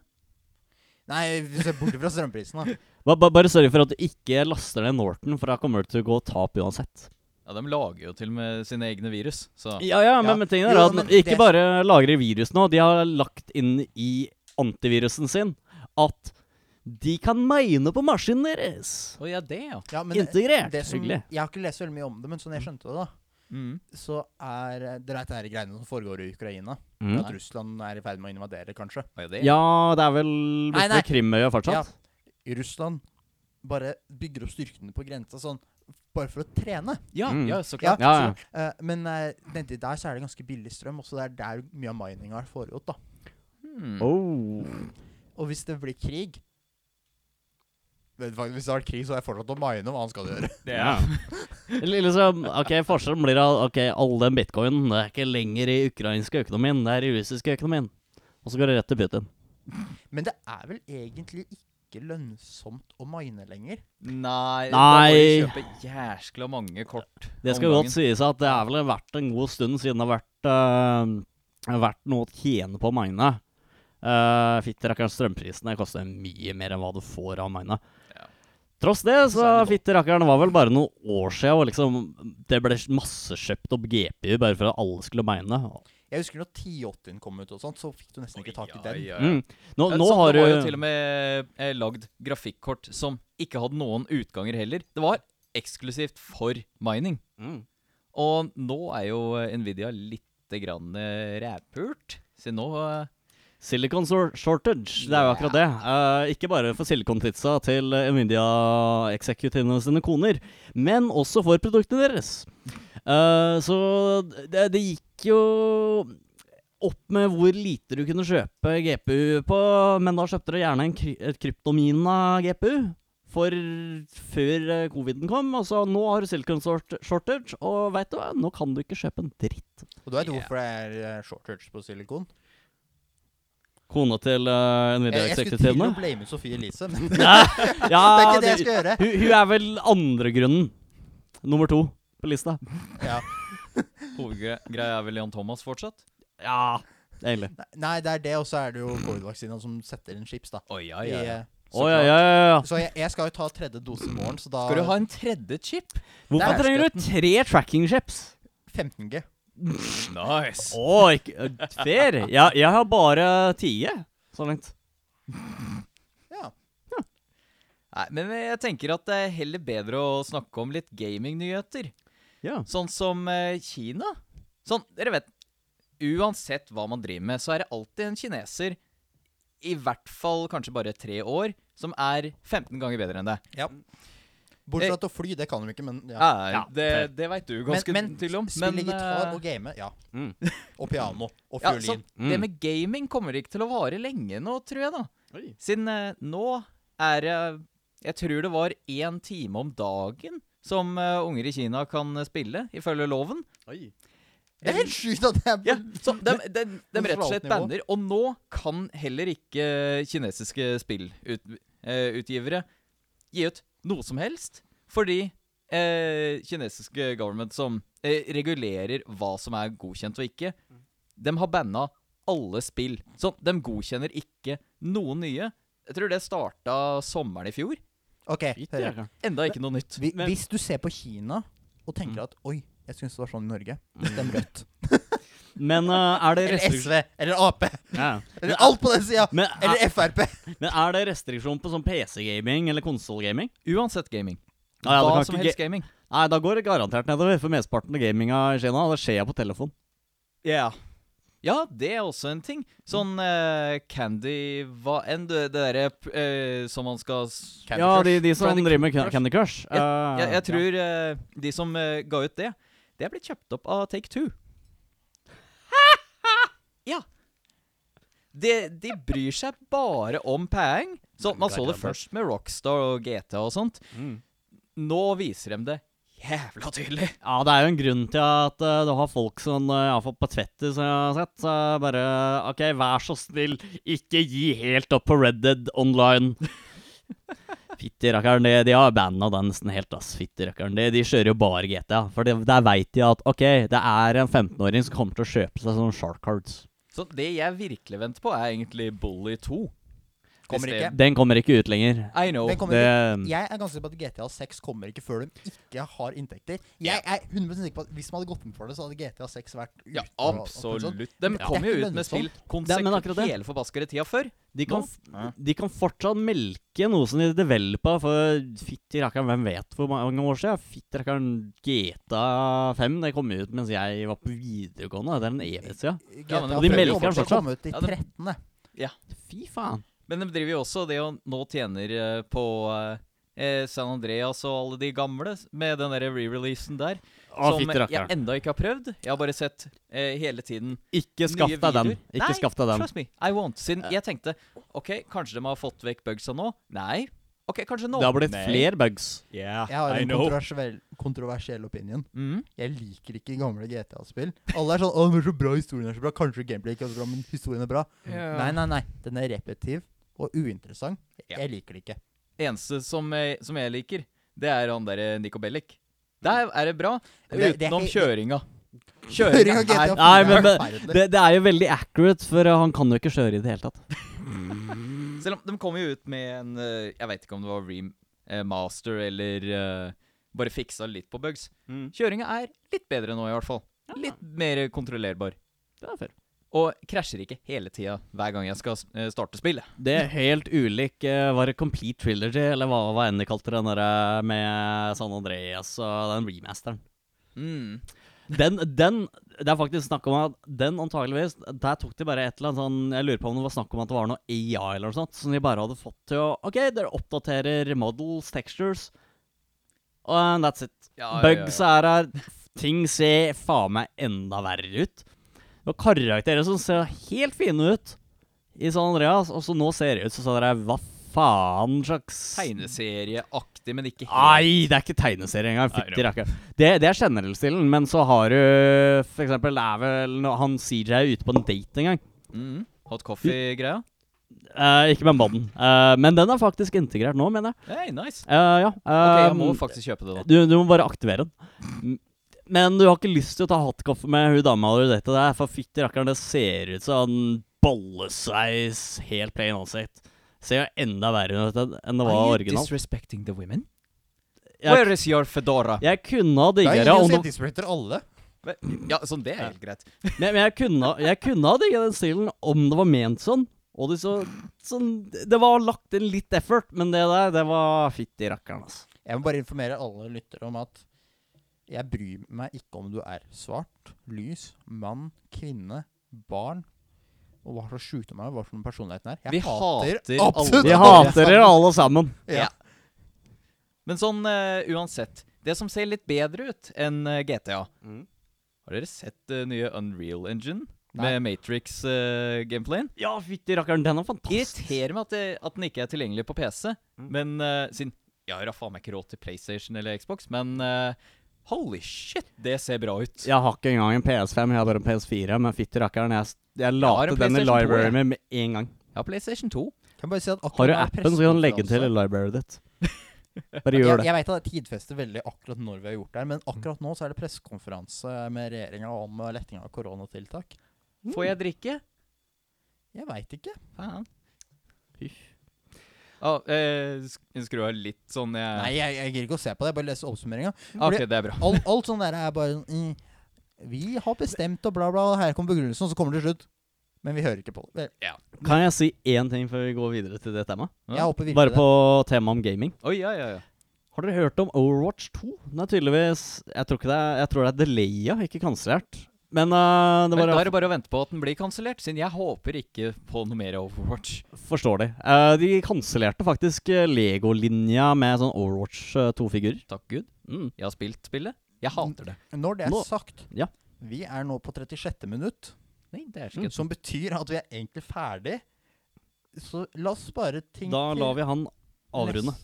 Speaker 1: Nei, vi ser bort fra strømprisen, da.
Speaker 3: Ba- ba- Bare sørg for at du ikke laster ned Norton, for da kommer du til å gå tap uansett.
Speaker 2: Ja, de lager jo til og med sine egne virus, så
Speaker 3: Ja, ja,
Speaker 1: Ja.
Speaker 3: men, men tingen er
Speaker 1: Jo,
Speaker 3: at
Speaker 1: men
Speaker 3: ikke
Speaker 1: det-
Speaker 3: bare lagrer virus nå, de har lagt inn i antivirusen sin at de kan mine på maskinen deres.
Speaker 2: Å ja, det, ja.
Speaker 1: Ja, men det-
Speaker 3: Integrert.
Speaker 1: det som,
Speaker 3: Hyggelig.
Speaker 1: jeg har ikke lest veldig mye om det, men sånn jeg skjønte det, da,
Speaker 2: Mm.
Speaker 1: så er eh, Dere veit det her greiene som foregår i Ukraina?
Speaker 3: Mm.
Speaker 1: At Russland er i ferd med å invadere, kanskje?
Speaker 2: Å, ja, det.
Speaker 3: Ja, det er vel
Speaker 1: Nei,
Speaker 3: borte
Speaker 1: nei.
Speaker 3: ved Krimøya
Speaker 1: Ja.
Speaker 3: fortsatt?
Speaker 1: Russland bare bygger opp styrkene på grensa sånn bare for å trene.
Speaker 2: ja,
Speaker 3: Mm.
Speaker 2: ja, så
Speaker 1: Ja,
Speaker 2: klart.
Speaker 3: Ja, ja.
Speaker 1: Så, eh, men eh, nedi der så er det ganske billig strøm, også det er der mye av mininga har foregått. da.
Speaker 2: Hmm.
Speaker 3: Oh.
Speaker 1: Og hvis det blir krig Vet du faktisk, Hvis det har vært krig, så er jeg fortsatt å mine. Hva han skal gjøre?
Speaker 3: Ja. Lille som, ok, Forskjellen blir at ok, all den bitcoinen det er ikke lenger i ukrainske økonomien, det er i russiske økonomien. Og så går det rett til Putin.
Speaker 1: Men det er vel egentlig ikke lønnsomt å mine lenger?
Speaker 2: Nei,
Speaker 3: Nei.
Speaker 2: Da må du kjøpe jæskla mange kort.
Speaker 3: Det skal
Speaker 2: om
Speaker 3: godt
Speaker 2: gangen.
Speaker 3: sies at det er vel vært en god stund siden det har vært, eh, vært noe å tjene på Magne. Uh, Fitterakkeren strømprisene koster mye mer enn hva du får av Magne.
Speaker 2: Ja.
Speaker 3: Tross det, så
Speaker 2: Særlig nå.
Speaker 3: fitterakkeren var vel bare noen år siden, og liksom, det ble massekjøpt opp GPU bare for at alle skulle mine.
Speaker 1: Jeg husker når 1080-en kom ut, og sånt, så fikk du nesten ikke tak i den.
Speaker 2: Ja, ja, ja.
Speaker 3: Mm. Nå,
Speaker 2: Ja,
Speaker 3: nå
Speaker 2: så
Speaker 3: har
Speaker 2: det Eh, var jo
Speaker 3: du
Speaker 2: til og med eh, lagd grafikkort som ikke hadde noen utganger heller. Det var eksklusivt for mining.
Speaker 3: Mm.
Speaker 2: Og nå er jo eh, Nvidia lite grann eh, rævpult. Så nå eh,
Speaker 3: Silicon sor- shortage, det er jo akkurat det. Eh, ikke bare for silikonpizza til eh, Nvidia-eksekutivene sine koner, men også for produktene deres. Eh, så det, det gikk jo opp med hvor lite du kunne kjøpe GPU på, men da kjøpte du gjerne en kry et kryptomina-GPU. For før eh, coviden kom, og så nå har du silicon sort- shortage, og veit du hva, nå kan du ikke kjøpe en dritt.
Speaker 1: Og du veit
Speaker 2: Ja.
Speaker 1: hvorfor det er eh, shortage på silikon?
Speaker 3: Kona til uh,
Speaker 1: Jeg, jeg skulle til å
Speaker 3: Nvidia-eksekutivene.
Speaker 1: blame Sofie Elise, men det
Speaker 3: Ja, ja,
Speaker 1: er ikke det jeg skal gjøre.
Speaker 3: Hun, hun er vel andre grunnen. Nummer to på lista.
Speaker 1: Ja.
Speaker 2: hovedgreia er vel Jan Thomas fortsatt?
Speaker 3: Ja, egentlig.
Speaker 1: Nei, det er det, og så er det jo covid-vaksinaen som setter inn chips, da.
Speaker 2: Å ja,
Speaker 1: I,
Speaker 2: ja, ja.
Speaker 1: eh,
Speaker 3: Å ja, ja, ja, ja.
Speaker 1: Så jeg, jeg skal jo ta tredje dose i morgen, så da
Speaker 2: Skal du ha en tredje chip?
Speaker 3: Hvorfor
Speaker 1: Der er
Speaker 3: trenger du tre tracking chips?
Speaker 1: 15G.
Speaker 2: Nice.
Speaker 3: Å, ikke øh, Fair. Jeg, jeg har bare tie så langt.
Speaker 1: Ja.
Speaker 2: Nei, men jeg tenker at det er heller bedre å snakke om litt gamingnyheter.
Speaker 3: Ja.
Speaker 2: Sånn som eh, Kina. Sånn, dere vet Uansett hva man driver med, så er det alltid en kineser, i hvert fall kanskje bare tre år, som er 15 ganger bedre enn deg.
Speaker 1: Ja. Bortsett fra til å fly, det kan de ikke, men ja.
Speaker 2: Ja, det det veit du ganske
Speaker 1: men, men
Speaker 2: til om.
Speaker 1: spille gitar
Speaker 2: eh,
Speaker 1: og game, ja.
Speaker 3: Mm.
Speaker 1: Og piano. Og
Speaker 2: ja,
Speaker 1: fiolin.
Speaker 2: så Det med gaming kommer ikke til å vare lenge nå, tror jeg, da.
Speaker 3: Oi.
Speaker 2: Siden eh, nå er det Jeg tror det var én time om dagen som eh, unger i Kina kan eh, spille, ifølge loven.
Speaker 3: Oi.
Speaker 1: Det er helt sjukt at det er
Speaker 2: Ja, så de, de, de
Speaker 1: Men
Speaker 2: rett og slett
Speaker 1: forvaltnivå.
Speaker 2: banner. Og nå kan heller ikke kinesiske spillutgivere gi ut noe som helst, fordi eh, kinesiske government som eh, regulerer hva som er godkjent og ikke, de har banna alle spill. Så de godkjenner ikke noen nye. Jeg tror det starta sommeren i fjor.
Speaker 1: OK,
Speaker 3: Fytti
Speaker 1: hør.
Speaker 3: rakkeren.
Speaker 2: Enda ikke noe nytt.
Speaker 1: Vi,
Speaker 3: Men-
Speaker 1: hvis du ser på Kina og
Speaker 2: Mm.
Speaker 1: tenker at oi, jeg syns det var sånn i Norge, stem rødt.
Speaker 3: Men eh, er det
Speaker 1: Eller
Speaker 3: restriksjon
Speaker 1: SV. Eller Ap.
Speaker 3: ja.
Speaker 1: Eller alt på den sida.
Speaker 3: Men,
Speaker 1: Eller Frp.
Speaker 3: men er det restriksjon på sånn PC-gaming eller konsollgaming?
Speaker 2: Uansett gaming.
Speaker 3: Ah, ja, det
Speaker 2: Hva
Speaker 3: kan
Speaker 2: som
Speaker 3: ikke
Speaker 2: helst
Speaker 3: ga-
Speaker 2: gaming.
Speaker 3: Nei, da går det garantert nedover, for mesteparten av gaminga i Kina det skjer på telefon.
Speaker 2: Ja. Ja, det er også en ting. Sånn eh, candy Hva enn du- det derre eh, som man skal s-
Speaker 1: Candy
Speaker 3: ja,
Speaker 1: Crush.
Speaker 3: de, de som
Speaker 2: Candy
Speaker 3: driver med
Speaker 2: Crush.
Speaker 3: Candy Crush. eh,
Speaker 2: jeg, jeg tror eh, de som eh, ga ut det, det er blitt kjøpt opp av Take Two. ja. De, de bryr seg bare om peng. Så man så det først med Rockstar og GTA og sånt.
Speaker 3: Mm.
Speaker 2: Nå viser de det jævla tydelig.
Speaker 3: Ja, det er jo en grunn til at eh, du har folk som eh, i hvert fall på Twitter som jeg har sett, så bare OK, vær så snill, ikke gi helt opp på Red Dead Online. Fytti rakkeren, de, de har banna den nesten helt, ass. Fytti rakkeren. De, de kjører jo bare GTA. For det- der veit de at OK, det er en 15-åring som kommer til å kjøpe seg sånne shark cards.
Speaker 2: Så det jeg virkelig venter på, er egentlig Bully 2.
Speaker 1: Kommer ikke.
Speaker 3: Den kommer ikke ut lenger.
Speaker 2: I know.
Speaker 1: Den kommer
Speaker 3: Det,
Speaker 1: ikke.
Speaker 2: Mm.
Speaker 1: Jeg er ganske sikker på at GTA 6 kommer ikke før de ikke har inntekter. Jeg er 100 sikker på at Hvis man hadde gått inn for det, så hadde GTA 6 vært
Speaker 2: Ja,
Speaker 1: ute og- og sånn.
Speaker 2: absolutt. De
Speaker 1: Men det er
Speaker 2: kom jo
Speaker 1: ikke
Speaker 2: ut med spill
Speaker 1: lønnsomt.
Speaker 3: Det er- men
Speaker 2: konsekvent
Speaker 3: akkurat det.
Speaker 2: hele forbaskede tida før.
Speaker 3: de, kan,
Speaker 2: Nå?
Speaker 3: f- de kan fortsatt melke noe som de developa for fytti rakkeren, hvem vet hvor mange år siden? Fytti rakkeren, GTA 5 det kom ut mens jeg var på videregående. Det er en evighet siden.
Speaker 2: Ja, men
Speaker 1: GTA
Speaker 2: de
Speaker 1: 5
Speaker 2: melker
Speaker 1: kommer til
Speaker 3: den
Speaker 1: å
Speaker 3: fortsatt.
Speaker 1: komme ut i
Speaker 2: Ja, det-
Speaker 1: 13.
Speaker 3: Fy faen.
Speaker 2: Men de driver jo også det og nå tjener eh, på eh, San Andreas og alle de gamle s- med den der re-releasen der.
Speaker 3: Å,
Speaker 2: som
Speaker 3: fytti
Speaker 2: jeg
Speaker 3: rakkeren.
Speaker 2: enda ikke har prøvd. Jeg har bare sett eh, hele tiden
Speaker 3: Ikke skaff
Speaker 2: nye
Speaker 3: deg den.
Speaker 2: videoer.
Speaker 3: Ikke
Speaker 2: Nei,
Speaker 3: skaff deg den.
Speaker 2: Trust me, I won't. Siden jeg tenkte OK, kanskje de har fått vekk bugsa nå? Nei. OK, kanskje nå.
Speaker 3: Det har blitt
Speaker 2: Nei.
Speaker 3: flere bugs.
Speaker 1: Jeg har en kontroversiell, kontroversiell opinion.
Speaker 2: Mhm.
Speaker 1: Jeg liker ikke gamle GTA-spill. Alle er sånn 'Å, den er så bra, historien er så bra'. Kanskje gameplay ikke er så bra, men historien er bra. Nei, nei, nei. Den er repetitiv og uinteressant.
Speaker 2: Ja.
Speaker 1: Jeg liker det ikke.
Speaker 2: Eneste som, eh, som jeg liker, det er han derre Nico Bellic. Der er det bra,
Speaker 1: Det- det er
Speaker 2: utenom
Speaker 1: ikke-
Speaker 2: kjøringa.
Speaker 1: Høring
Speaker 2: Kjøringa
Speaker 1: av GTA 4
Speaker 2: er
Speaker 3: Nei, men
Speaker 1: er
Speaker 3: det,
Speaker 1: forferdelig.
Speaker 3: det, det er jo veldig accurate, for uh, han kan jo ikke kjøre i det hele tatt.
Speaker 2: Selv om de kom jo ut med en eh, Jeg vet ikke om det var remaster eller eh, bare fiksa litt på bugs.
Speaker 3: Mm.
Speaker 2: Kjøringa er litt bedre nå, i hvert fall. Litt mer kontrollerbar.
Speaker 3: Det er fair.
Speaker 2: Og krasjer ikke hele tida hver gang jeg skal eh, starte spillet.
Speaker 3: Det er helt ulik eh, Var det Complete Trilogy, eller hva, hva enn de kalte den der eh, med San Andreas og den remasteren?
Speaker 2: Mm.
Speaker 3: Den, den Det er faktisk snakk om at den antageligvis Der tok de bare et eller annet sånn Jeg lurer på om det var snakk om at det var noe AI eller noe sånt, som de bare hadde fått til å OK, dere oppdaterer models, textures, and that's it.
Speaker 2: Ja,
Speaker 3: Bugs
Speaker 2: ja, ja.
Speaker 3: er her. Ting ser faen meg enda verre ut. Det var karakterer som ser helt fine ut i San Andreas, og så nå ser det ut som sånn der, Hva faen slags
Speaker 2: Tegneserieaktig, men ikke helt.
Speaker 3: Nei, det er ikke tegneserie engang.
Speaker 2: Nei,
Speaker 3: Fytti rakker. Det, det er generellstilen, men så har du for eksempel det er vel når han CJ er ute på en date en gang.
Speaker 2: Mm. Hot coffee-greia.
Speaker 3: Eh, ikke med mannen. Eh, men den er faktisk integrert nå, mener jeg.
Speaker 2: Hey, nice.
Speaker 3: Eh, ja.
Speaker 2: Ok, jeg må
Speaker 3: eh,
Speaker 2: faktisk kjøpe det, da.
Speaker 3: Du, du må bare aktivere den. M- Men du har ikke lyst til å ta hattkaffe med hun dama du datet der, for fytti rakkeren, det ser ut som en bollesveis, helt plain ansikt. Ser jo enda verre ut enn enn det var originalt.
Speaker 2: disrespecting the women? Where
Speaker 3: Jeg,
Speaker 2: is your fedora?
Speaker 3: jeg kunne ha
Speaker 1: Det
Speaker 3: digga
Speaker 1: er
Speaker 3: det
Speaker 1: ingen
Speaker 3: om
Speaker 1: som
Speaker 3: det
Speaker 1: disrespecter alle.
Speaker 2: Ja, sånn det er helt greit.
Speaker 3: Men men jeg kunne, jeg kunne ha digga den stilen om det var ment sånn. Og det, så, sånn, det var lagt inn litt effort, men det der, det var fytti rakkeren, altså.
Speaker 1: Jeg må bare informere alle lyttere om at Jeg bryr meg ikke om du er svart, lys, mann, kvinne, barn og hva slags sjukdom er, hva slags personlighet den er. Jeg
Speaker 2: Vi hater alle.
Speaker 1: absolutt
Speaker 3: Vi
Speaker 1: alle.
Speaker 3: hater dere alle sammen.
Speaker 1: Ja.
Speaker 2: Men sånn eh, uansett Det som ser litt bedre ut enn eh, GTA Har dere sett det nye Unreal Engine?
Speaker 1: Nei.
Speaker 2: Med Matrix-gameplayen?
Speaker 3: Ja, fytti rakkeren, den er fantastisk.
Speaker 2: Irriterer meg at, det, at den ikke er tilgjengelig på PC. Men eh, siden Jeg har da faen meg ikke råd til PlayStation eller Xbox, men eh, holy shit, det ser bra ut.
Speaker 3: Jeg har ikke engang en PS5, jeg har bare en PS4. Men fytti rakkeren, jeg, jeg la
Speaker 2: har en
Speaker 3: til den i
Speaker 2: PlayStation 2,
Speaker 3: libraryen
Speaker 2: jeg.
Speaker 3: min med en gang.
Speaker 2: Jeg har PlayStation 2.
Speaker 1: Kan bare si at akkurat
Speaker 3: Har du
Speaker 1: nå er
Speaker 3: appen, så kan du legge den til i
Speaker 1: pressekonferanse.
Speaker 3: libraryen ditt. Bare
Speaker 1: Jeg,
Speaker 3: gjør det.
Speaker 1: jeg vet at det tidfester veldig akkurat når vi har gjort det, her, men akkurat nå så er det pressekonferanse med regjeringa om eh, letting av koronatiltak.
Speaker 2: Får jeg drikke?
Speaker 1: Jeg veit ikke.
Speaker 2: Faen. Ah, eh, sk- skru av litt sånn jeg
Speaker 1: Nei, jeg, jeg gidder ikke å se på det. Jeg bare leser oppsummeringa.
Speaker 2: Ah, OK, det er bra.
Speaker 1: Alt, alt sånn der er bare sånn mm, Vi har bestemt og bla, bla. og Her kommer begrunnelsen, og så kommer det til slutt. Men vi hører ikke på det.
Speaker 3: Kan jeg si én ting før vi går videre til det temaet?
Speaker 1: Jeg håper virkelig
Speaker 3: Bare på temaet om gaming.
Speaker 2: Oi, ja, ja, ja.
Speaker 3: Har dere hørt om Overwatch 2? Den er tydeligvis Jeg tror, ikke det, er, jeg tror det er delaya, ikke kansellert. Men eh, det
Speaker 2: Men
Speaker 3: var
Speaker 2: da er det bare å vente på at den blir kansellert, siden jeg håper ikke på noe mer Overwatch.
Speaker 3: Forstår de. Eh, de kansellerte faktisk eh, Lego-linja med sånn Overwatch 2-figurer.
Speaker 2: Takk Gud.
Speaker 3: Mm.
Speaker 2: Jeg har spilt spillet. Jeg hater det.
Speaker 1: det. Når det er
Speaker 3: Nå-
Speaker 1: sagt,
Speaker 3: ja.
Speaker 1: vi er nå på 36. minutt,
Speaker 2: Nei, det er
Speaker 1: som betyr at vi er egentlig ferdig. Så la oss bare tenke
Speaker 3: Da lar vi han avrunde.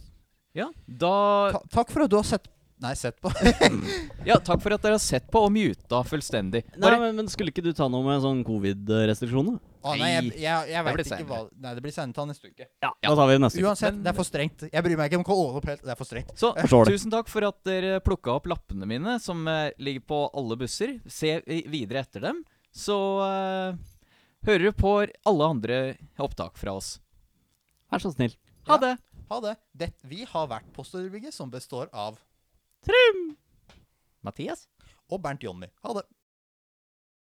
Speaker 2: Ja, da
Speaker 1: Ta, takk for at du har sett Nei, sett på.
Speaker 2: Ja, takk for at dere har sett på og muta fullstendig.
Speaker 3: Nei,
Speaker 2: Bare,
Speaker 3: men, men skulle ikke du ta noe med sånn covid-restriksjoner?
Speaker 1: Å, nei, jeg, jeg, jeg
Speaker 2: Det
Speaker 1: vet
Speaker 2: blir
Speaker 1: ikke hva Nei, det blir senere ta neste uke.
Speaker 3: Ja. Da tar vi det neste uke.
Speaker 1: Uansett,
Speaker 2: men-
Speaker 1: det er for strengt. Jeg bryr meg ikke om KO. Det er for strengt.
Speaker 2: så
Speaker 3: Forstår det.
Speaker 2: tusen takk for at dere plukka opp lappene mine, som eh, ligger på alle busser. Se i- videre etter dem, så eh, hører du på alle andre opptak fra oss.
Speaker 3: Vær så snill.
Speaker 2: Ha det!
Speaker 1: Ha det. det. Vi har vært på Storbygget, som består av
Speaker 2: Mathias?
Speaker 1: Og Bernt Jonny. Ha det.